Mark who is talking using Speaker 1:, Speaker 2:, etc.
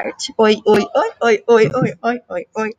Speaker 1: Oi, oi, oi, oi, oi, oi, oi, oi, oi, oi.